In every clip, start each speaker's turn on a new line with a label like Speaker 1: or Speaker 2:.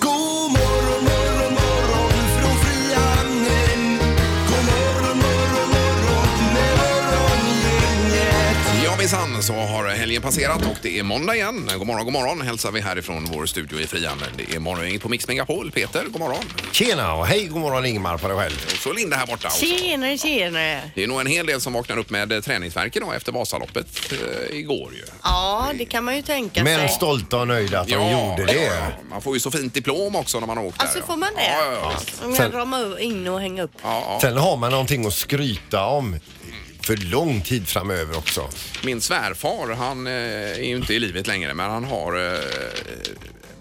Speaker 1: God morgon, morgon, morgon från Frihamnen. God morgon, morgon, morgon med morgongänget.
Speaker 2: Ja minsann så har helgen passerat och det är måndag igen. God morgon, god morgon hälsar vi härifrån vår studio i Frihamnen. Det är morgongänget på Mix Megapol. Peter, god morgon.
Speaker 3: Tjena och hej god morgon Ingmar på dig själv.
Speaker 2: Och så Linda här borta också.
Speaker 4: Tjenare, tjenare.
Speaker 2: Det är nog en hel del som vaknar upp med eh, träningsvärken då efter Vasaloppet eh, igår ju.
Speaker 4: Ja, det kan man ju tänka
Speaker 3: Men
Speaker 4: sig.
Speaker 3: stolta och nöjda att de gjorde
Speaker 2: ja,
Speaker 3: det.
Speaker 2: ja. Man får ju så fint diplom också när man har åkt
Speaker 4: Alltså
Speaker 2: där.
Speaker 4: får man det?
Speaker 2: Ja, ja, ja. visst.
Speaker 4: Om
Speaker 3: Sen-
Speaker 4: jag ramar in och hänga upp.
Speaker 2: ja, ja.
Speaker 3: Sen har man någonting att skryta om för lång tid framöver också.
Speaker 2: Min svärfar, han eh, är ju inte i livet längre, men han har eh,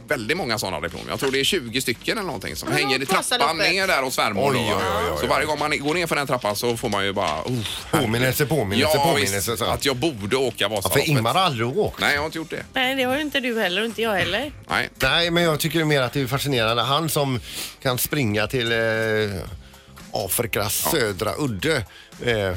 Speaker 2: väldigt många sådana diplom. Jag tror det är 20 stycken eller någonting som
Speaker 4: Ja,
Speaker 2: hänger i trappan
Speaker 4: Vasaloppet.
Speaker 2: ner där hos svärmor.
Speaker 3: Oj,
Speaker 2: då.
Speaker 3: oj, oj, oj,
Speaker 2: Så varje gång man går ner för den trappan så får man ju bara... Uh,
Speaker 3: Påminnelse, påminnelse, påminnelse.
Speaker 2: visst,
Speaker 3: Så.
Speaker 2: att jag borde åka
Speaker 3: Ja, för
Speaker 2: Vasaloppet.
Speaker 3: Ingmar har aldrig åkt.
Speaker 2: Nej, jag har inte gjort det.
Speaker 4: Nej, det har ju inte du heller och inte jag heller.
Speaker 2: Nej.
Speaker 3: Nej, men jag tycker mer att det är fascinerande. Han som kan springa till eh, Afrikas södra udde. Eh,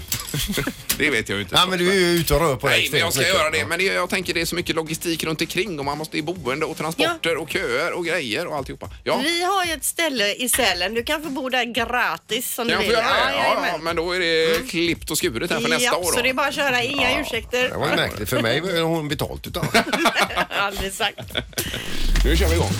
Speaker 2: Det vet jag ju inte.
Speaker 3: nej, men du är ju ute och rör på dig
Speaker 2: Nej, men jag ska
Speaker 3: extremt
Speaker 2: göra
Speaker 3: mycket.
Speaker 2: det. Men det, jag tänker det är så mycket logistik runt omkring och man måste i boende och transporter och köer och grejer och alltihopa. Ja,
Speaker 4: Vi har ju ett ställe i Sälen. Du kan få bo där gratis
Speaker 2: kan
Speaker 4: om du
Speaker 2: jag
Speaker 4: vill.
Speaker 2: få göra det? Ja, ja,
Speaker 4: jajamän. Mm.
Speaker 2: men då är det klippt och skuret här för nästa
Speaker 4: Ja,
Speaker 2: år.
Speaker 4: så
Speaker 2: då.
Speaker 4: det är bara att köra. Inga ursäkter.
Speaker 3: Det var ju märkligt. För mig har hon betalt utav
Speaker 4: Jag har aldrig sagt.
Speaker 2: Nu kör vi igång.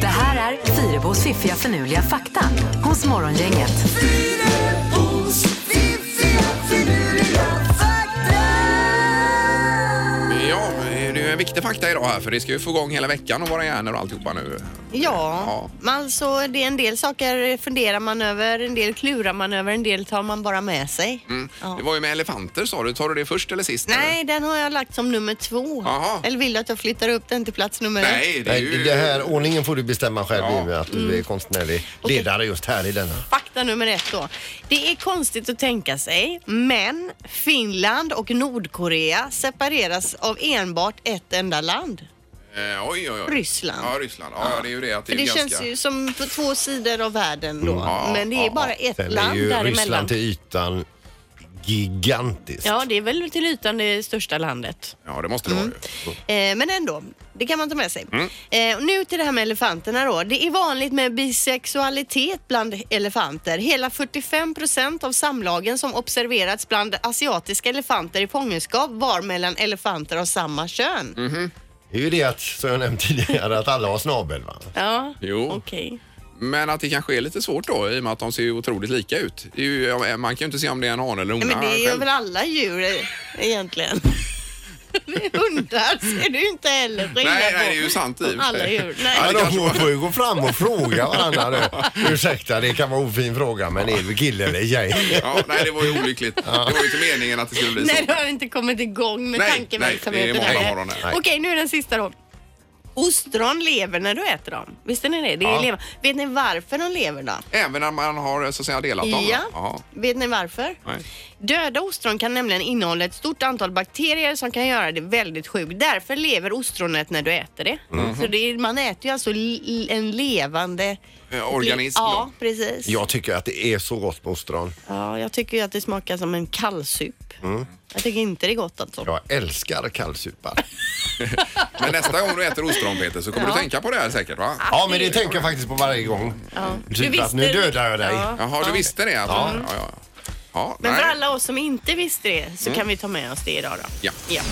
Speaker 5: Det här är Fyrabos fiffiga förnuliga fakta hos Morgongänget.
Speaker 1: Fidebos fiffiga finurliga fakta.
Speaker 2: Ja, det är ju en viktig fakta idag här för det ska ju få igång hela veckan och våra hjärnor och alltihopa nu.
Speaker 4: Ja, men alltså det är en del saker funderar man över, en del klurar man över, en del tar man bara med sig.
Speaker 2: Mm. Det var ju med elefanter sa du. Tar du det först eller sist?
Speaker 4: Nej, den har jag lagt som nummer två.
Speaker 2: Jaha.
Speaker 4: Eller vill du att jag flyttar upp den till plats nummer ett?
Speaker 2: Nej, det är ju...
Speaker 3: Nej, det här ordningen får du bestämma själv
Speaker 2: Ja.
Speaker 3: i och med att
Speaker 4: Mm.
Speaker 3: du är konstnärlig ledare just här i denna.
Speaker 4: Fakta nummer ett då. Det är konstigt att tänka sig, men Finland och Nordkorea separeras av enbart ett enda land.
Speaker 2: Eh, oj, oj, oj.
Speaker 4: Ryssland.
Speaker 2: Ja, Ryssland. Ja, ja, det är ju det att det,
Speaker 4: För det
Speaker 2: är ganska... Mm.
Speaker 4: känns ju som på två sidor av världen då.
Speaker 2: Ja,
Speaker 4: men det är
Speaker 2: ja,
Speaker 4: bara ett
Speaker 3: Sen är
Speaker 4: land
Speaker 3: ju
Speaker 4: däremellan.
Speaker 3: Ryssland till ytan gigantiskt.
Speaker 4: Ja, det är väl till ytan det största landet.
Speaker 2: Ja, det måste det vara ju.
Speaker 4: Eh, men ändå, det kan man ta med sig.
Speaker 2: Mm.
Speaker 4: Eh, och nu till det här med elefanterna då. Det är vanligt med bisexualitet bland elefanter. Hela 45 procent av samlagen som observerats bland asiatiska elefanter i fångenskap var mellan elefanter av samma kön.
Speaker 2: Mm.
Speaker 3: Det är ju det att, som jag nämnde tidigare, att alla har snabel va?
Speaker 4: Ja,
Speaker 2: Jo.
Speaker 4: okej.
Speaker 2: Men att det kanske är lite svårt då i och med att de ser ju otroligt lika ut. Det är ju- ja, Man kan ju inte se om det är en hane eller hona
Speaker 4: Nej, men det gör
Speaker 2: själv.
Speaker 4: väl alla djur eh, egentligen. Hundar ser du inte heller skillnad
Speaker 2: Nej, nej,
Speaker 4: på.
Speaker 2: det är ju sant i och för sig.
Speaker 4: Alla djur. Nej.
Speaker 2: Ja,
Speaker 3: Ja,
Speaker 2: det kanske
Speaker 3: de får ju gå fram och fråga varandra nu. Ursäkta, det kan vara ofin fråga, men är du kille eller tjej?
Speaker 2: Ja, nej, det var ju olyckligt. Det var ju inte meningen att det skulle bli
Speaker 4: Nej,
Speaker 2: så.
Speaker 4: du har inte kommit igång med
Speaker 2: Nej, nej,
Speaker 4: tankeverksamheten.
Speaker 2: det är måndag
Speaker 4: här.
Speaker 2: morgon här.
Speaker 4: Okej, nu är den sista då. Ostron lever när du äter dem. Visste ni det? det är
Speaker 3: Ja.
Speaker 4: leva- Vet ni varför de lever då?
Speaker 2: Även när man har så att säga delat dem?
Speaker 4: Ja.
Speaker 2: Jaha.
Speaker 4: Vet ni varför?
Speaker 2: Nej.
Speaker 4: Döda ostron kan nämligen innehålla ett stort antal bakterier som kan göra dig väldigt sjuk. Därför lever ostronet när du äter det.
Speaker 2: Mhm.
Speaker 4: Så det är, man äter ju alltså li- en levande...
Speaker 2: Eh, organism då.
Speaker 4: Ja, precis.
Speaker 3: Jag tycker att det är så gott med ostron.
Speaker 4: Ja, jag tycker ju att det smakar som en kallsup.
Speaker 2: Mm.
Speaker 4: Jag tycker inte det är gott alltså.
Speaker 3: Jag älskar kallsupar.
Speaker 2: Men nästa gång du äter ostron Peter så kommer du tänka på det här säkert va?
Speaker 3: Ja, men det tänker jag faktiskt på varje gång. Typ att
Speaker 4: visste
Speaker 3: nu
Speaker 4: det.
Speaker 3: dödar jag dig.
Speaker 4: Ja.
Speaker 2: Jaha, du visste det? Alltså. Ja. Ja, ja. ja
Speaker 4: Men
Speaker 2: nej. Mm.
Speaker 4: för alla oss som inte visste det så kan vi ta med oss det idag då.
Speaker 2: Ja.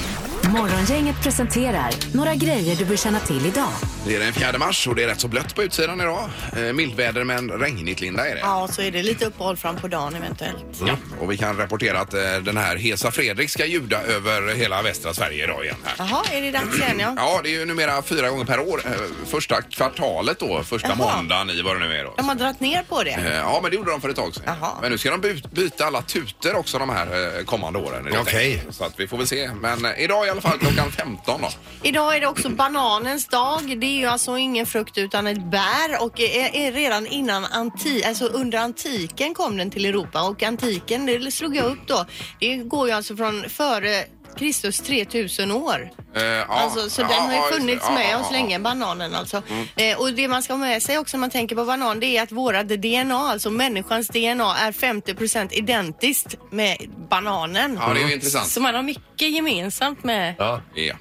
Speaker 5: Morgongänget presenterar några grejer du bör känna till idag.
Speaker 2: Det är den 4 mars och det är rätt så blött på utsidan idag. Eh, mildväder men regnigt Linda är det.
Speaker 4: Ja, så är det lite uppehåll fram på dagen eventuellt.
Speaker 2: Ja, och vi kan rapportera att eh, den här Hesa Fredrik ska ljuda över hela västra Sverige idag igen. Här.
Speaker 4: Jaha, är det dags igen ja?
Speaker 2: Ja, det är ju numera fyra gånger per år. eh, Första kvartalet då, första
Speaker 4: Jaha.
Speaker 2: måndagen i vad det nu är då.
Speaker 4: De har dragit ner på
Speaker 2: Eh,
Speaker 4: det.
Speaker 2: Ja, men det gjorde de för ett tag sedan.
Speaker 4: Jaha.
Speaker 2: Men nu ska de by- byta alla tutor också de här eh, kommande åren. helt
Speaker 3: Okej.
Speaker 2: enkelt. Så att vi får väl se. Men eh, idag i alla fall klockan 15 då.
Speaker 4: Idag är det också bananens dag. Det är ju alltså ingen frukt utan ett bär och är, är redan innan anti, alltså under antiken kom den till Europa och antiken, det slog jag upp då, det går ju alltså från före Kristus 3000 år.
Speaker 2: Eh, ja,
Speaker 4: Alltså, så
Speaker 2: ja,
Speaker 4: den
Speaker 2: ja,
Speaker 4: har ju
Speaker 2: just det.
Speaker 4: funnits
Speaker 2: Ja,
Speaker 4: med
Speaker 2: ja,
Speaker 4: oss
Speaker 2: ja. Mm.
Speaker 4: länge, bananen alltså. Eh, och det man ska ha med sig också när man tänker på banan det är att vårat DNA, alltså människans DNA är 50% identiskt med bananen.
Speaker 2: Ja, det är ju intressant.
Speaker 4: Så man har mycket gemensamt med...
Speaker 3: Ja.
Speaker 2: Ja.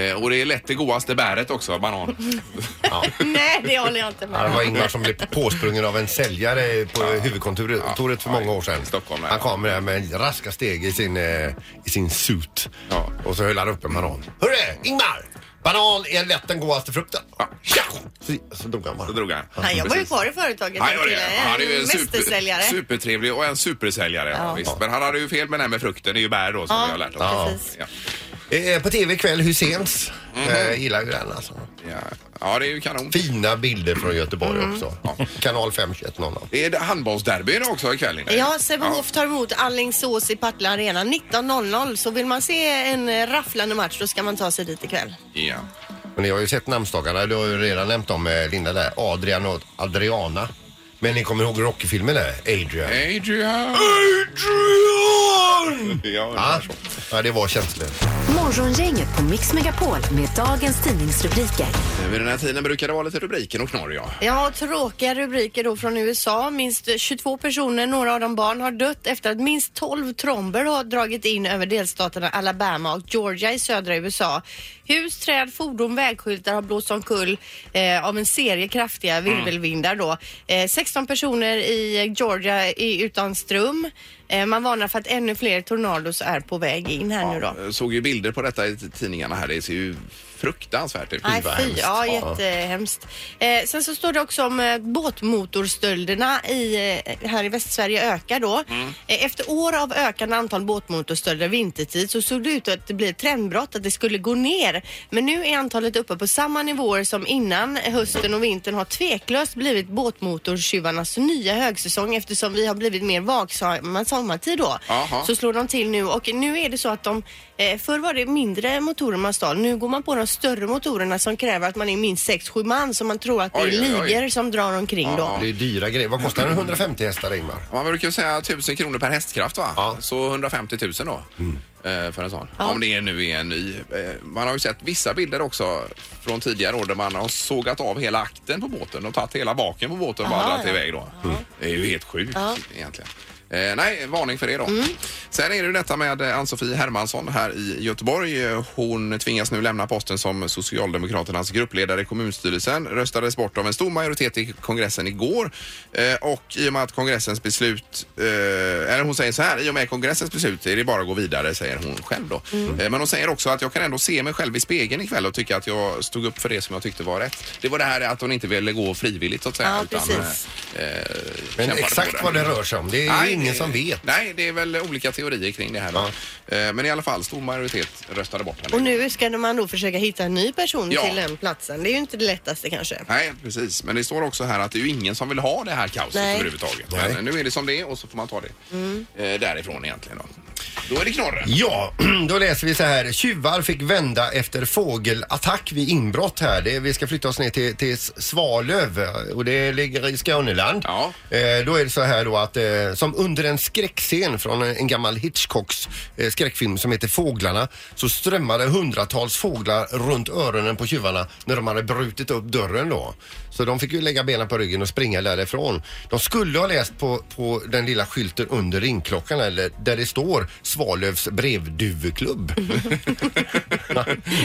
Speaker 2: Eh, Och det är lätt det godaste bäret också, banan.
Speaker 4: Nej, det håller jag inte
Speaker 3: Ja, Det
Speaker 4: med
Speaker 3: var Ingvar som blev påsprungen av en säljare på huvudkontoret för många år sedan.
Speaker 2: Stockholm, ja.
Speaker 3: han kom där med raska steg i sin, eh, i sin suit.
Speaker 2: Ja.
Speaker 3: Och så höll han upp en banan. Hörru, Ingmar! Banan är lätt den godaste frukten.
Speaker 2: Ja.
Speaker 3: Tja! Så, så drog han bara.
Speaker 2: Så drog han.
Speaker 4: Han jobbar ju kvar i företaget.
Speaker 2: Han gör
Speaker 4: den
Speaker 2: det.
Speaker 4: killen.
Speaker 2: Han är ju en super,
Speaker 4: mästersäljare.
Speaker 2: supertrevlig och en supersäljare. Ja.
Speaker 4: Ja.
Speaker 2: Visst. Men han hade ju fel med det här med frukten. Det är ju bär då som
Speaker 4: Ja,
Speaker 2: vi har lärt oss.
Speaker 4: Ja. precis.
Speaker 2: Ja.
Speaker 3: Eh, på tv ikväll, Husseins.
Speaker 2: Mhm.
Speaker 3: Eh, gillar ju den alltså.
Speaker 2: Ja. ja, det är ju kanon.
Speaker 3: Fina bilder från Göteborg
Speaker 2: Mm.
Speaker 3: också. Kanal 5100.
Speaker 2: Det är handbollsderbyn också ikväll. Linda.
Speaker 4: Ja, Sävehof tar emot Alingsås i Partille Arena 19.00. Så vill man se en eh, rafflande match då ska man ta sig dit ikväll.
Speaker 2: Ja.
Speaker 3: Men jag har ju sett namnsdagarna, du har ju redan nämnt dem eh, Linda där. Adrian och Adriana. Men ni kommer ihåg Rocky-filmen där? Adrian. Ah.
Speaker 2: Adrian!
Speaker 3: Adrian!
Speaker 2: Ja,
Speaker 3: Ja, ja det var känsligt.
Speaker 5: Morgongänget på Mix Megapol med dagens tidningsrubriker.
Speaker 2: Vid den här tiden brukar det vara lite rubriken och knorr, ja.
Speaker 4: Ja, och tråkiga rubriker då från USA. Minst 22 personer, några av dem barn, har dött efter att minst 12 tromber har dragit in över delstaterna Alabama och Georgia i södra USA. Hus, träd, fordon, vägskyltar har blåst omkull eh, av en serie kraftiga virvelvindar då. Eh, 16 personer i Georgia är utan ström. Eh, man varnar för att ännu fler tornados är på väg in här nu då.
Speaker 2: Jag såg ju bilder på detta i tidningarna här. Det ser ju fruktansvärt ut.
Speaker 4: Nej,
Speaker 3: Fy, vad
Speaker 4: fy.
Speaker 3: hemskt.
Speaker 4: Ja,
Speaker 3: Ja.
Speaker 4: jättehemskt. Eh, sen så står det också om eh, båtmotorstölderna i, eh, här i Västsverige ökar då. Eh, efter år av ökande antal båtmotorstölder vintertid så såg det ut att det blir ett trendbrott, att det skulle gå ner. Men nu är antalet uppe på samma nivåer som innan hösten och vintern har tveklöst blivit båtmotortjuvarnas nya högsäsong eftersom vi har blivit mer vaksamma sommartid då.
Speaker 2: Jaha.
Speaker 4: Så slår de till nu och nu är det så att de, eh, förr var det mindre motorer man stal. Nu går man på de större motorerna som kräver att man är minst 6-7 man så man tror att det
Speaker 2: Oj,
Speaker 4: är
Speaker 2: oj, oj.
Speaker 4: ligor som drar omkring då.
Speaker 3: Det är dyra grejer. Vad kostar en 150 hästar Ingmar?
Speaker 2: Man brukar ju säga 1000 kronor per hästkraft va?
Speaker 3: Ja.
Speaker 2: Så 150 000 då. eh, För en sån. Om det nu är en ny. eh, Man har ju sett vissa bilder också från tidigare år där man har sågat av hela akten på båten och tagit hela baken på båten och bara
Speaker 4: Aha,
Speaker 2: dragit
Speaker 4: ja.
Speaker 2: iväg då. Det är ju helt sjukt egentligen. Eh, nej, varning för det då.
Speaker 4: Mm.
Speaker 2: Sen är det ju detta med eh, Ann-Sofie Hermansson här i Göteborg. Eh, Hon tvingas nu lämna posten som Socialdemokraternas gruppledare i kommunstyrelsen. Röstades bort av en stor majoritet i kongressen igår. Eh, och i och med att kongressens beslut, eh, eller hon säger så här, i och med kongressens beslut är det bara att gå vidare, säger hon själv då.
Speaker 4: Mm.
Speaker 2: Eh, men hon säger också att jag kan ändå se mig själv i spegeln ikväll och tycka att jag stod upp för det som jag tyckte var rätt. Det var det här att hon inte ville gå frivilligt så att säga.
Speaker 4: Ja, precis.
Speaker 2: eh, eh,
Speaker 3: Men
Speaker 2: kämpade på
Speaker 3: exakt
Speaker 2: det.
Speaker 3: vad det rör sig om, det är ju ingen som vet.
Speaker 2: Nej, det är väl olika teorier kring det här. Då. Eh, Men i alla fall, stor majoritet röstade bort henne.
Speaker 4: Och nu ska man då försöka hitta en ny person
Speaker 2: Ja.
Speaker 4: till den platsen. Det är ju inte det lättaste kanske.
Speaker 2: Nej, precis. Men det står också här att det är ju ingen som vill ha det här kaoset
Speaker 4: Nej. Mm.
Speaker 2: överhuvudtaget.
Speaker 3: Nej.
Speaker 2: Men nu är det som det är och så får man ta det eh, därifrån egentligen. Då, då är det knorren.
Speaker 3: Ja, då läser vi så här. Tjuvar fick vända efter fågelattack vid inbrott här. Det, vi ska flytta oss ner till, till Svalöv och det ligger i Skåneland.
Speaker 2: Ja.
Speaker 3: Eh, då är det så här då att eh, som under en skräckscen från en gammal Hitchcocks eh, skräckfilm som heter Fåglarna så strömmade hundratals fåglar runt öronen på tjuvarna när de hade brutit upp dörren då. Så de fick ju lägga benen på ryggen och springa därifrån. De skulle ha läst på, på den lilla skylten under ringklockan eller där det står Svalövs brevduveklubb. Men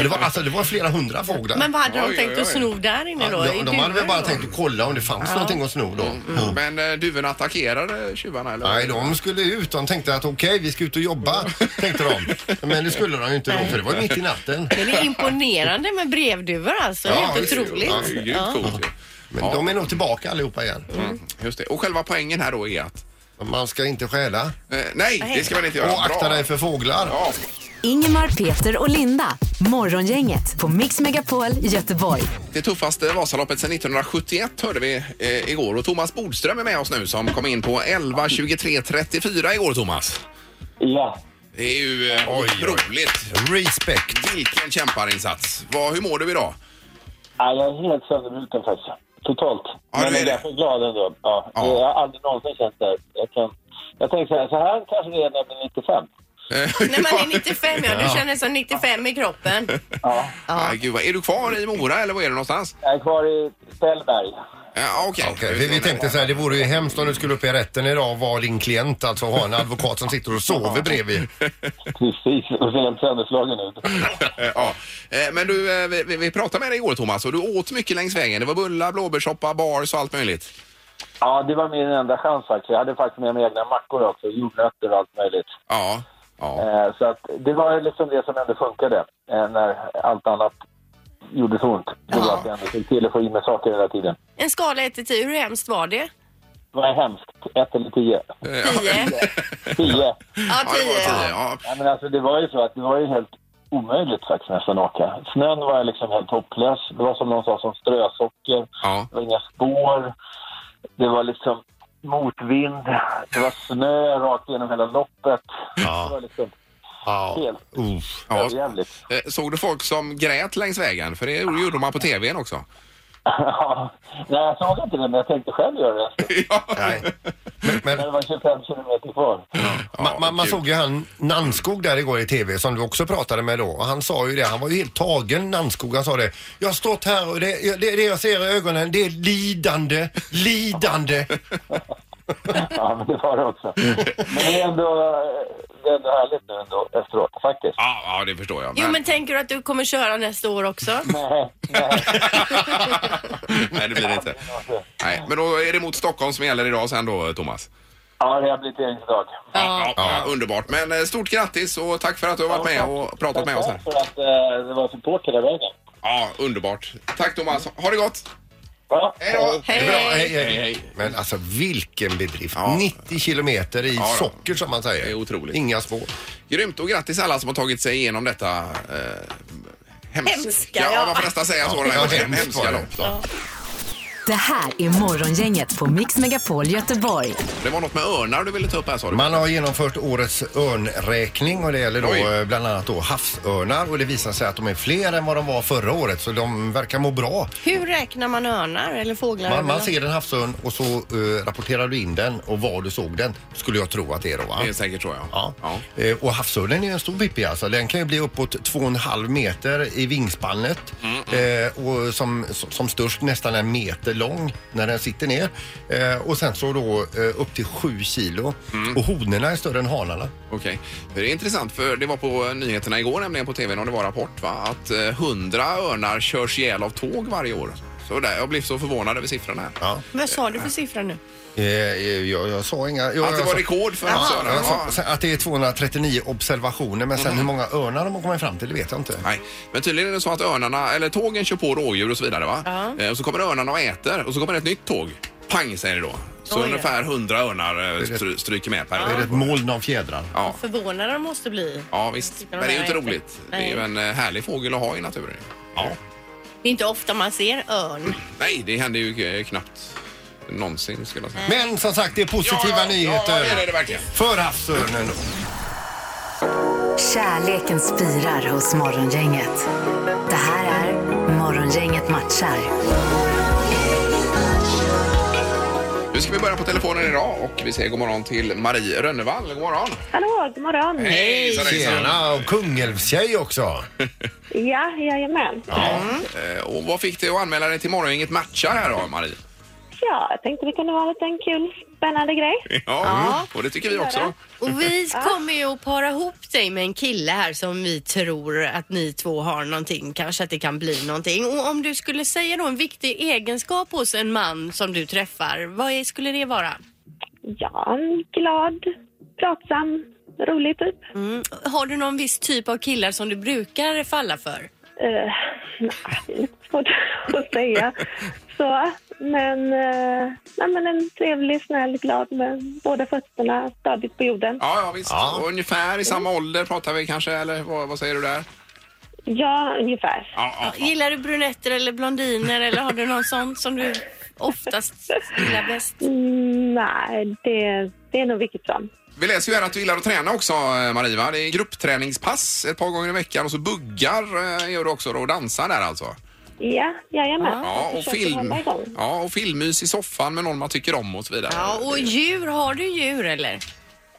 Speaker 3: det, var, alltså, det var flera hundra fåglar.
Speaker 4: Men vad hade
Speaker 2: Oj,
Speaker 4: de tänkt
Speaker 2: oj,
Speaker 4: att
Speaker 2: oj.
Speaker 4: sno där inne då?
Speaker 3: Ja,
Speaker 4: I
Speaker 3: de, de hade väl
Speaker 4: duvor
Speaker 3: bara
Speaker 4: då?
Speaker 3: tänkt att kolla om det fanns någonting att sno då. Ja.
Speaker 2: Men eh, duvorna attackerade tjuvarna eller?
Speaker 3: Nej, de skulle ut. De tänkte att okej, vi ska ut och jobba, tänkte de. Men det skulle de ju inte då, för det var ju mitt i natten.
Speaker 4: Men det är imponerande med brevduvor alltså.
Speaker 3: Ja,
Speaker 4: Helt
Speaker 3: visst.
Speaker 4: otroligt.
Speaker 2: Ja, det är grymt coolt ju.
Speaker 3: Men
Speaker 2: Ja. Mm.
Speaker 3: de är nog tillbaka allihopa igen.
Speaker 4: Mm.
Speaker 2: Just det. Och själva poängen här då är att...
Speaker 3: Man ska inte stjäla.
Speaker 2: Eh, nej, det ska man inte göra.
Speaker 3: Och akta
Speaker 2: Bra.
Speaker 3: dig för fåglar.
Speaker 2: Ja.
Speaker 5: Ingemar, Peter och Linda. Morgongänget på Mix Megapol Göteborg.
Speaker 2: Det tuffaste Vasaloppet sedan 1971 hörde vi eh, igår och Thomas Bodström är med oss nu som kom in på 11.23.34 igår Thomas.
Speaker 6: Ja,
Speaker 2: Det är ju eh,
Speaker 3: Oj, oj.
Speaker 2: otroligt.
Speaker 3: Respect.
Speaker 2: Vilken kämparinsats. Vad, hur mår du idag?
Speaker 6: Ja, jag är helt sönderbruten faktiskt. Totalt.
Speaker 2: Ja, du
Speaker 6: Men jag
Speaker 2: är
Speaker 6: är
Speaker 2: det.
Speaker 6: därför glad ändå. Ja,
Speaker 2: Ja.
Speaker 6: Jag har aldrig någonsin känt det. Jag, kan, jag tänker så här, så här kanske det är när jag blir 95.
Speaker 4: När man är 95 ja, du känner som 95 i kroppen.
Speaker 6: Ja.
Speaker 2: Ah, gud, vad- är du kvar i Mora eller var är du någonstans?
Speaker 6: Jag är kvar i Ställberg.
Speaker 2: Ja, Okej.
Speaker 3: Okej, vi, vi tänkte så här, det vore ju hemskt om du skulle upp i rätten idag och vara din klient, alltså ha en advokat som sitter och sover bredvid.
Speaker 6: Precis, och ser helt sönderslagen ut.
Speaker 2: ja. Eh, Men du, eh, vi- vi, vi pratade med dig igår Thomas och du åt mycket längs vägen. Det var bullar, blåbärssoppa, bars och allt möjligt.
Speaker 6: Ja, det var min enda chans faktiskt. Jag hade faktiskt med mig egna mackor också, jordnötter och allt möjligt.
Speaker 2: Ja. ja.
Speaker 6: Eh, så att det var liksom det som ändå funkade eh, när allt annat gjorde så ont. Det var
Speaker 4: Ja.
Speaker 6: att jag ändå fick till att få i mig saker hela tiden.
Speaker 4: En skala 1 till 10, hur hemskt var det?
Speaker 6: Det var hemskt. Ett eller tio.
Speaker 4: 10?
Speaker 6: Tio.
Speaker 4: Ja,
Speaker 2: det var
Speaker 4: 10.
Speaker 2: tio. Ja.
Speaker 6: Ja, men alltså, det var ju så att det var ju helt omöjligt faktiskt nästan att åka. Snön var liksom helt hopplös. Det var som någon sa, som strösocker.
Speaker 2: Ja.
Speaker 6: Det var inga spår. Det var liksom motvind. Det var snö rakt genom hela loppet.
Speaker 3: Ja.
Speaker 6: Det var liksom
Speaker 3: Ja.
Speaker 6: helt
Speaker 3: Uff.
Speaker 2: Ja.
Speaker 6: överjävligt.
Speaker 2: Eh, Såg du folk som grät längs vägen? För det gjorde man på tvn också.
Speaker 6: Ja. Nej, jag såg inte det, men jag tänkte själv göra det.
Speaker 2: Ja.
Speaker 3: Nej. Men, men
Speaker 6: När det var 25 kilometer kvar.
Speaker 3: man, man, man
Speaker 2: kul.
Speaker 3: såg ju han Nannskog där igår i TV som du också pratade med då och han sa ju det, han var ju helt tagen Nannskog, han sa det. Jag har stått här och det, det, det jag ser i ögonen det är lidande, lidande.
Speaker 6: Ja, men det var det också. Men det är ändå, det är ändå härligt nu ändå efteråt, faktiskt.
Speaker 2: Ja, ja, det förstår jag.
Speaker 4: Jo, men tänker du att du kommer köra nästa år också?
Speaker 6: Nej, nej.
Speaker 2: Nej, det blir det inte. Nej, men då är det mot Stockholm som gäller idag sen då, Thomas.
Speaker 6: Ja, rehabiliteringsdag.
Speaker 2: Ja. Ja, underbart. Men eh, stort grattis och tack för att du har varit med och pratat med oss här.
Speaker 6: Tack för att eh, det var support hela vägen.
Speaker 2: Ja, underbart. Tack Thomas. Ha det gott!
Speaker 6: Ja.
Speaker 2: Hej då!
Speaker 3: Det är bra.
Speaker 4: Hej!
Speaker 3: Hej, hej.
Speaker 2: Hej, hej.
Speaker 3: Men alltså vilken bedrift.
Speaker 2: Ja.
Speaker 3: 90 kilometer i
Speaker 2: Ja, då.
Speaker 3: socker som man säger.
Speaker 2: Det är otroligt.
Speaker 3: Inga spår.
Speaker 2: Grymt och grattis alla som har tagit sig igenom detta eh, hemska.
Speaker 4: Hemska,
Speaker 2: ja.
Speaker 4: ja.
Speaker 2: Man får nästan säga så.
Speaker 3: Ja,
Speaker 2: det här
Speaker 3: hemskt
Speaker 2: hemska,
Speaker 3: var det.
Speaker 2: lopp. Då.
Speaker 5: Det här är Morgongänget på Mix Megapol Göteborg.
Speaker 2: Det var något med örnar du ville ta upp här sa du.
Speaker 3: Man har genomfört årets örnräkning och det gäller då
Speaker 2: Oj.
Speaker 3: eh, bland annat då havsörnar och det visar sig att de är fler än vad de var förra året så de verkar må bra.
Speaker 4: Hur räknar man örnar eller fåglar?
Speaker 3: Man,
Speaker 4: eller
Speaker 3: man
Speaker 4: något?
Speaker 3: ser en havsörn och så eh, rapporterar du in den och var du såg den skulle jag tro att det är då va?
Speaker 2: Det är säkert så ja.
Speaker 3: Ja. Eh, Och havsörnen är ju en stor pippi alltså. Den kan ju bli uppåt 2,5 meter i vingspannet.
Speaker 2: Mm,
Speaker 3: Eh, och som, som som störst nästan en meter lång när den sitter ner. Eh, och sen så då eh, upp till 7 kilo.
Speaker 2: Mm.
Speaker 3: Och honorna är större än hanarna.
Speaker 2: Okej. Det är intressant för det var på eh, nyheterna igår nämligen på tvn och det var rapport va? Att eh, 100 örnar körs ihjäl av tåg varje år. Så där, jag blev så förvånad över siffrorna. här.
Speaker 3: Ja.
Speaker 4: Vad sa du för siffra nu?
Speaker 3: Eh, eh, jag, jag sa inga... Jag,
Speaker 2: Att det
Speaker 3: jag
Speaker 2: var
Speaker 3: sa-
Speaker 2: rekord för
Speaker 3: alltså- Ja,
Speaker 2: havsörnar.
Speaker 3: Alltså- jag sa
Speaker 2: Ja. Mm.
Speaker 3: sen att det är 239 observationer men sen hur många örnar de har kommit fram till det vet jag inte.
Speaker 2: Nej, men tydligen är det så att örnarna, eller tågen kör på rådjur och så vidare va?
Speaker 4: Ja.
Speaker 2: Eh, Och så kommer örnarna och äter och så kommer det ett nytt tåg. Pang säger det då. Så
Speaker 4: Oj.
Speaker 2: ungefär 100 örnar eh,
Speaker 3: Det är
Speaker 2: stry- stryker med per
Speaker 3: Det är
Speaker 2: år.
Speaker 3: ett moln av fjädrar.
Speaker 2: Ja.
Speaker 4: Förvånade de måste bli.
Speaker 2: ja, visst. Men det är ju inte roligt. Det är ju en eh, härlig fågel att ha i naturen. Ja.
Speaker 4: Det är inte ofta man ser örn.
Speaker 2: Nej, det händer ju eh, knappt någonsin skulle jag säga.
Speaker 3: Men som sagt det är positiva
Speaker 2: Ja,
Speaker 3: nyheter.
Speaker 2: det är det verkligen.
Speaker 3: För havsörnen.
Speaker 5: Kärleken spirar hos Morgongänget. Det här är Morgongänget matchar.
Speaker 2: Nu ska vi börja på telefonen idag och vi säger god morgon till Marie Rönnevall. God morgon!
Speaker 7: Hallå, god morgon.
Speaker 2: Hej!
Speaker 3: Tjena, och Kungälvstjej också.
Speaker 7: Ja, jajamän.
Speaker 2: Eh, Och vad fick dig att anmäla dig till Morgongänget matchar här då, Marie?
Speaker 7: Ja, jag tänkte det kunde vara lite en kul, spännande grej.
Speaker 2: Ja, och det tycker vi också.
Speaker 4: Och vi kommer ju att para ihop dig med en kille här som vi tror att ni två har någonting, kanske att det kan bli någonting. Och om du skulle säga då en viktig egenskap hos en man som du träffar, vad är, skulle det vara?
Speaker 7: Ja, en glad, pratsam, rolig typ.
Speaker 4: Mm. Har du någon viss typ av killar som du brukar falla för?
Speaker 7: Eh,
Speaker 6: Mm.
Speaker 7: nej, det är lite svårt att säga. Så, men, eh, nej, men en trevlig, snäll, glad med båda fötterna stadigt på jorden.
Speaker 2: Ja, ja visst.
Speaker 3: Ja.
Speaker 2: Och ungefär i samma ålder pratar vi kanske, eller vad, vad säger du där?
Speaker 7: Ja, ungefär.
Speaker 2: Ja, ja, ja.
Speaker 4: Gillar du brunetter eller blondiner eller har du någon sån som du oftast gillar bäst?
Speaker 7: Mm, nej, det, det är nog vilket som.
Speaker 2: Vi läser ju här att du gillar att träna också, eh, Marie. Va? Det är gruppträningspass ett par gånger i veckan och så buggar eh, gör du också då, och dansar där alltså.
Speaker 7: Ja, jajamän.
Speaker 2: Ja,
Speaker 7: Jag
Speaker 2: och,
Speaker 7: försöker
Speaker 2: film,
Speaker 7: hålla igång.
Speaker 2: ja, och filmmys i soffan med någon man tycker om och så vidare.
Speaker 4: Ja, och djur, har du djur eller?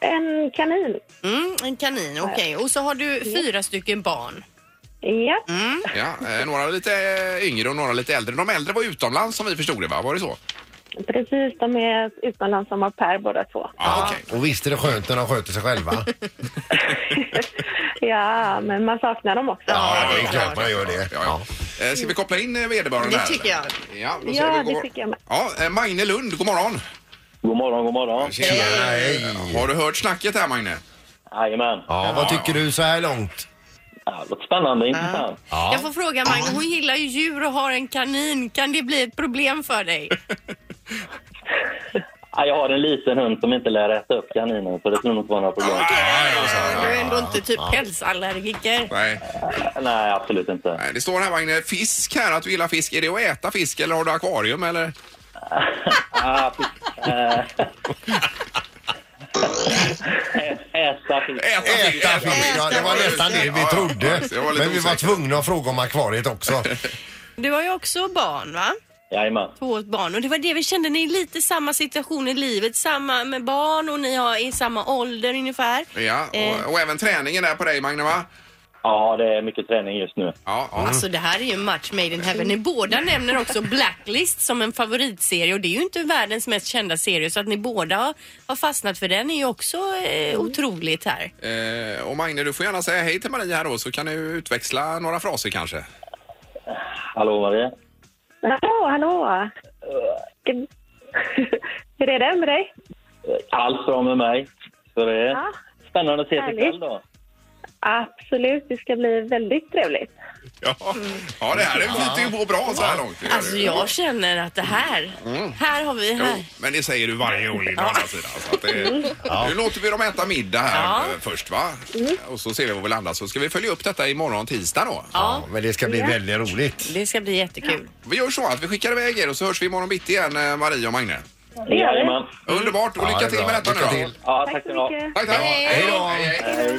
Speaker 7: En kanin.
Speaker 4: Mm, en kanin, okej. Och så har du fyra stycken barn.
Speaker 7: Ja,
Speaker 2: Ja, eh, några lite eh, yngre och några lite äldre. De äldre var utomlands som vi förstod det, va? Var det så?
Speaker 7: precis. De är utomlands som au pair båda två.
Speaker 2: Ja, okej.
Speaker 3: Och visst är det skönt när de sköter sig själva?
Speaker 7: Ja, men man saknar dem också.
Speaker 3: Ja, det är klart man gör det.
Speaker 2: Ja, ja. Eh, Ska vi koppla in eh, vederbörande
Speaker 4: Det
Speaker 2: här?
Speaker 4: tycker jag.
Speaker 2: Ja, då säger
Speaker 7: Ja,
Speaker 2: vi god...
Speaker 7: det tycker jag med.
Speaker 2: Ja, eh, Magne Lund, god morgon.
Speaker 6: God morgon, god morgon.
Speaker 3: Tjena, hej.
Speaker 2: Har du hört snacket här, Magne?
Speaker 6: Jajamän.
Speaker 3: Ja, vad tycker du så här långt?
Speaker 6: Ja, det låter spännande, intressant.
Speaker 4: Jag får fråga Magne, hon gillar ju djur och har en kanin. Kan det bli ett problem för dig?
Speaker 6: Ja, jag har en liten hund som inte lär äta upp kaninen, så det skulle nog inte vara några problem.
Speaker 4: Du är ändå inte typ pälsallergiker.
Speaker 2: Nej.
Speaker 6: Nej, absolut inte.
Speaker 2: Nej, det står här, Magne, fisk här, att du gillar fisk. Är det att äta fisk eller har du akvarium eller?
Speaker 6: Ah, fisk. Eh. Ä- Äta fisk.
Speaker 3: Äta fisk, ja det var nästan det vi
Speaker 2: Ja, ja,
Speaker 3: trodde.
Speaker 2: ja, det var lite
Speaker 3: Men vi var
Speaker 2: osäkert.
Speaker 3: tvungna att fråga om akvariet också.
Speaker 4: Du har ju också barn va?
Speaker 6: Jajamän.
Speaker 4: Två barn och det var det vi kände, ni är lite i samma situation i livet, samma med barn och ni har i samma ålder ungefär.
Speaker 2: Ja,
Speaker 4: Eh.
Speaker 2: och, och även träningen där på dig, Magne, va?
Speaker 6: Ja, det är mycket träning just nu.
Speaker 2: Ja, ja.
Speaker 4: Alltså det här är ju en match made in heaven. Ni båda nämner också Blacklist som en favoritserie och det är ju inte världens mest kända serie så att ni båda har fastnat för den är ju också eh, otroligt här.
Speaker 2: Eh, och Magne, du får gärna säga hej till Marie här då, så kan du utväxla några fraser kanske.
Speaker 6: Hallå, Eh. Marie?
Speaker 7: Hallå, hallå! Ska- Hur är det med dig?
Speaker 6: Allt bra med mig. Så det är
Speaker 7: Ja.
Speaker 6: spännande att ses
Speaker 7: Härligt.
Speaker 6: ikväll då.
Speaker 7: Absolut, det ska bli väldigt trevligt.
Speaker 2: Ja, ja det här det flyter ju på bra så här långt. Det gör det.
Speaker 4: Alltså jag känner att det här, här har vi,
Speaker 2: Mm. Jo,
Speaker 4: här.
Speaker 2: men det säger du varje år, Linda, å andra sidan. Så att det, Nu låter vi dem äta middag här
Speaker 4: Ja.
Speaker 2: eh, först, va? Och så ser vi var vi landar. Så ska vi följa upp detta imorgon tisdag då.
Speaker 3: Ja, men det ska bli väldigt roligt.
Speaker 4: det ska bli jättekul.
Speaker 2: Vi gör så att vi skickar iväg er och så hörs vi imorgon bitti igen, eh, Marie och Magne.
Speaker 7: gör vi.
Speaker 6: Jajamän.
Speaker 2: Underbart och
Speaker 3: Ja, det
Speaker 2: lycka
Speaker 3: är
Speaker 2: till
Speaker 3: bra.
Speaker 2: med detta nu
Speaker 3: Lycka
Speaker 2: då.
Speaker 3: till.
Speaker 6: Ja,
Speaker 7: Tack
Speaker 6: tack
Speaker 7: så
Speaker 6: ska ni ha.
Speaker 7: mycket.
Speaker 2: Tack, tack. Hej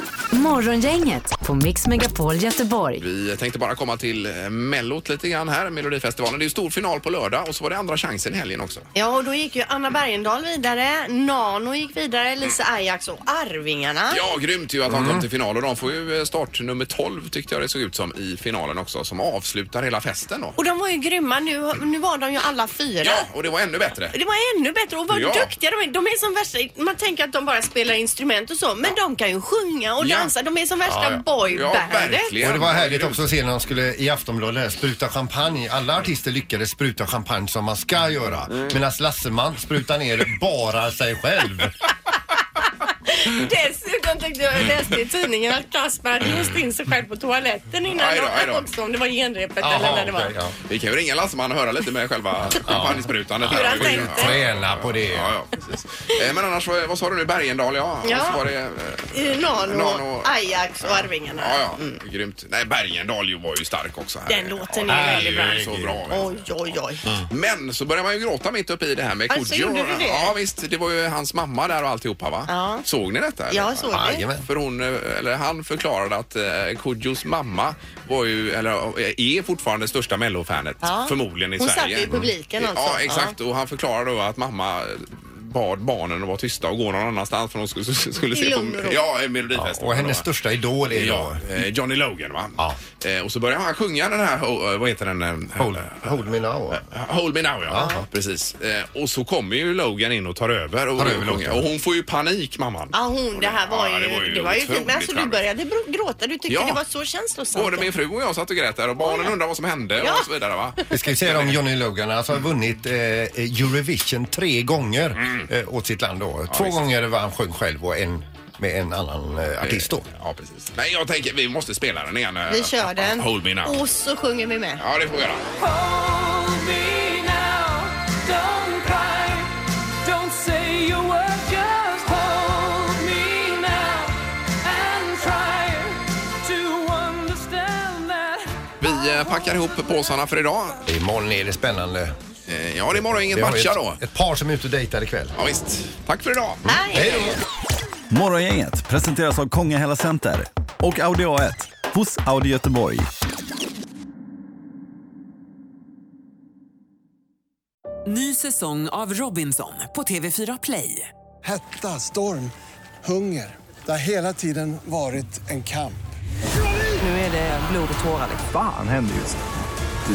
Speaker 2: då.
Speaker 5: Morgongänget på Mix Megapol Göteborg.
Speaker 2: Vi tänkte bara komma till eh, Mellot lite grann här, Melodifestivalen. Det är ju stor final på lördag och så var det andra chansen i helgen också.
Speaker 4: Ja, och då gick ju Anna Bergendahl vidare, Nano gick vidare, Lisa Ajax och Arvingarna.
Speaker 2: Ja, grymt ju att de
Speaker 4: Mm.
Speaker 2: kom till final och de får ju eh, start nummer 12 tyckte jag det såg ut som i finalen också som avslutar hela festen då.
Speaker 4: Och de var ju grymma, nu, nu var de ju alla fyra.
Speaker 2: Ja, och det var ännu bättre.
Speaker 4: Det var ännu bättre och vad
Speaker 2: Ja.
Speaker 4: duktiga de är. De är som värsta, man tänker att de bara spelar instrument och så, men de kan ju sjunga och
Speaker 2: Ja.
Speaker 4: dansa. De är som värsta
Speaker 3: Ja, ja.
Speaker 2: Ja,
Speaker 4: boybandet.
Speaker 2: verkligen.
Speaker 3: Och det var härligt också att se när de skulle i Aftonbladet spruta champagne. Alla artister lyckades spruta champagne som man ska göra. Medan Lasseman sprutar ner bara sig själv.
Speaker 4: Dessutom tyckte jag, jag läste i tidningen att Casper hade låst in sig själv på toaletten innan
Speaker 2: Mm. Aj då, aj då.
Speaker 4: också, om det var genrepet eller
Speaker 3: Jaha,
Speaker 4: när det var.
Speaker 3: okej, ja.
Speaker 2: Vi kan ju ringa Lasseman och höra lite med själva champagnesprutandet.
Speaker 4: Hur
Speaker 2: här.
Speaker 4: han tänkte.
Speaker 3: Träna på det.
Speaker 2: Ja, ja, precis. Eh, Men annars, vad vad sa du nu? Bergendahl, ja.
Speaker 4: Ja.
Speaker 2: Och så var det, eh,
Speaker 4: I Nano,
Speaker 2: Nano.
Speaker 4: Ajax och Arvingarna.
Speaker 2: ja, ja. Grymt. Nej, Bergendahl ju var ju stark också. Här.
Speaker 4: Den låten
Speaker 2: Ja,
Speaker 4: är
Speaker 2: det
Speaker 4: väldigt
Speaker 2: är
Speaker 4: bra.
Speaker 2: ju så bra.
Speaker 4: Oj, oj, oj.
Speaker 2: Mm. Men så började man ju gråta mitt uppe i det här med Kodjo.
Speaker 4: Alltså, gjorde du det?
Speaker 2: Ja, visst. Det var ju hans mamma där och alltihopa, va?
Speaker 4: Ja.
Speaker 2: Såg ni detta? eller?
Speaker 4: Jag såg det.
Speaker 3: Jajamän.
Speaker 2: För hon, eh, eller han förklarade att eh, Kodjos mamma var ju, eller eh, är fortfarande största mellofanet
Speaker 4: Ja.
Speaker 2: förmodligen i
Speaker 4: Hon satt
Speaker 2: Sverige.
Speaker 4: ju i publiken
Speaker 2: Mm.
Speaker 4: alltså.
Speaker 2: Ja, exakt. Och han förklarade då att mamma bad barnen att vara tysta och gå någon annanstans för de skulle, skulle
Speaker 4: I
Speaker 2: se på
Speaker 4: lugn och ro.
Speaker 2: ja, i
Speaker 3: Ja,
Speaker 2: Melodifestivalen.
Speaker 3: och
Speaker 2: då,
Speaker 3: hennes
Speaker 2: va?
Speaker 3: största idol är
Speaker 2: Ja,
Speaker 3: då
Speaker 2: eh, Johnny Logan va?
Speaker 3: Ja.
Speaker 2: Eh, Och så började han sjunga den här, oh, eh, vad heter den? eh,
Speaker 3: Hold, hold me now.
Speaker 2: Hold me now, ja. Precis. Eh, och så kommer ju Logan in och tar över. Och,
Speaker 3: Tar över
Speaker 2: och,
Speaker 3: Logan.
Speaker 2: och hon får ju panik, mamman.
Speaker 4: Ja, hon, det här var
Speaker 2: Ja,
Speaker 4: ju...
Speaker 2: det var ju
Speaker 4: det var ju
Speaker 2: otroligt
Speaker 4: men alltså, du
Speaker 2: charmigt.
Speaker 4: började br- gråta. Du tyckte
Speaker 2: Ja.
Speaker 4: det var så känslosamt.
Speaker 2: Både min fru och jag satt och grät där och barnen undrade vad som hände
Speaker 4: Ja.
Speaker 2: och så vidare va.
Speaker 3: Vi ska ju säga om Johnny Logan, alltså har vunnit eh, Eurovision tre gånger eh, åt sitt land då. Två
Speaker 2: visst.
Speaker 3: gånger var han själv själv och en med en annan eh, artist då.
Speaker 2: Ja, precis. Nej, jag tänker vi måste spela den igen. eh,
Speaker 4: Vi kör den.
Speaker 2: Hold me now.
Speaker 4: Och så sjunger vi med.
Speaker 2: Ja, det får vi göra.
Speaker 8: Hold me now, don't cry, don't say a word, just hold me now and try to understand that.
Speaker 2: Vi eh, packar ihop påsarna för idag.
Speaker 3: Imorgon är det spännande.
Speaker 2: Eh, ja, det är morgon inget
Speaker 3: Vi har ju
Speaker 2: matcha då.
Speaker 3: ett, ett par som är ute och dejtar ikväll.
Speaker 2: Ja, visst. Tack för idag.
Speaker 4: Nej.
Speaker 3: Hej då!
Speaker 9: Morgongänget presenteras av Kongahälla Center och Audi A1 hos Audi Göteborg.
Speaker 8: Ny säsong av Robinson på TV4 Play.
Speaker 10: Hetta, storm, hunger. Det har hela tiden varit en kamp.
Speaker 8: Nu är det blod och tårar. liksom.
Speaker 9: Fan händer just nu.